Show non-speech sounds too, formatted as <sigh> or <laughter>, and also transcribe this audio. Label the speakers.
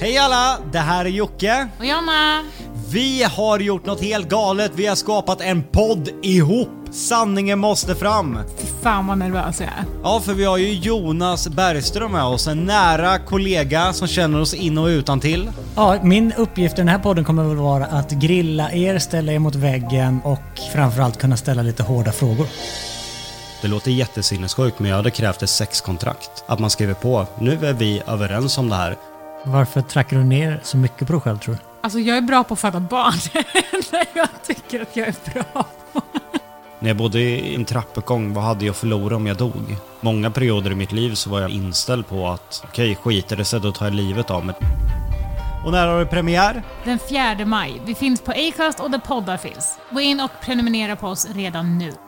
Speaker 1: Hej alla! Det här är Jocke.
Speaker 2: Och Jonna!
Speaker 1: Vi har gjort något helt galet. Vi har skapat en podd ihop. Sanningen måste fram.
Speaker 2: Fy fan vad nervös jag är.
Speaker 1: Ja, för vi har ju Jonas Bergström med oss. En nära kollega som känner oss in och utan till.
Speaker 3: Ja, min uppgift i den här podden kommer väl vara att grilla er, ställa er mot väggen och framförallt kunna ställa lite hårda frågor.
Speaker 1: Det låter jättesinnessjukt, men jag hade krävt ett sexkontrakt. Att man skriver på. Nu är vi överens om det här.
Speaker 3: Varför trackar du ner så mycket på dig själv tror du?
Speaker 2: Alltså jag är bra på att föda barn. <laughs> När jag tycker att jag är bra.
Speaker 1: När jag bodde i en trappuppgång, vad hade jag att förlora om jag dog? Många perioder i mitt liv så var jag inställd på att okej, skiter det sig då tar jag livet av mig. Och när har du premiär?
Speaker 2: Den 4 maj. Vi finns på Acast och där poddar finns. Gå in och prenumerera på oss redan nu.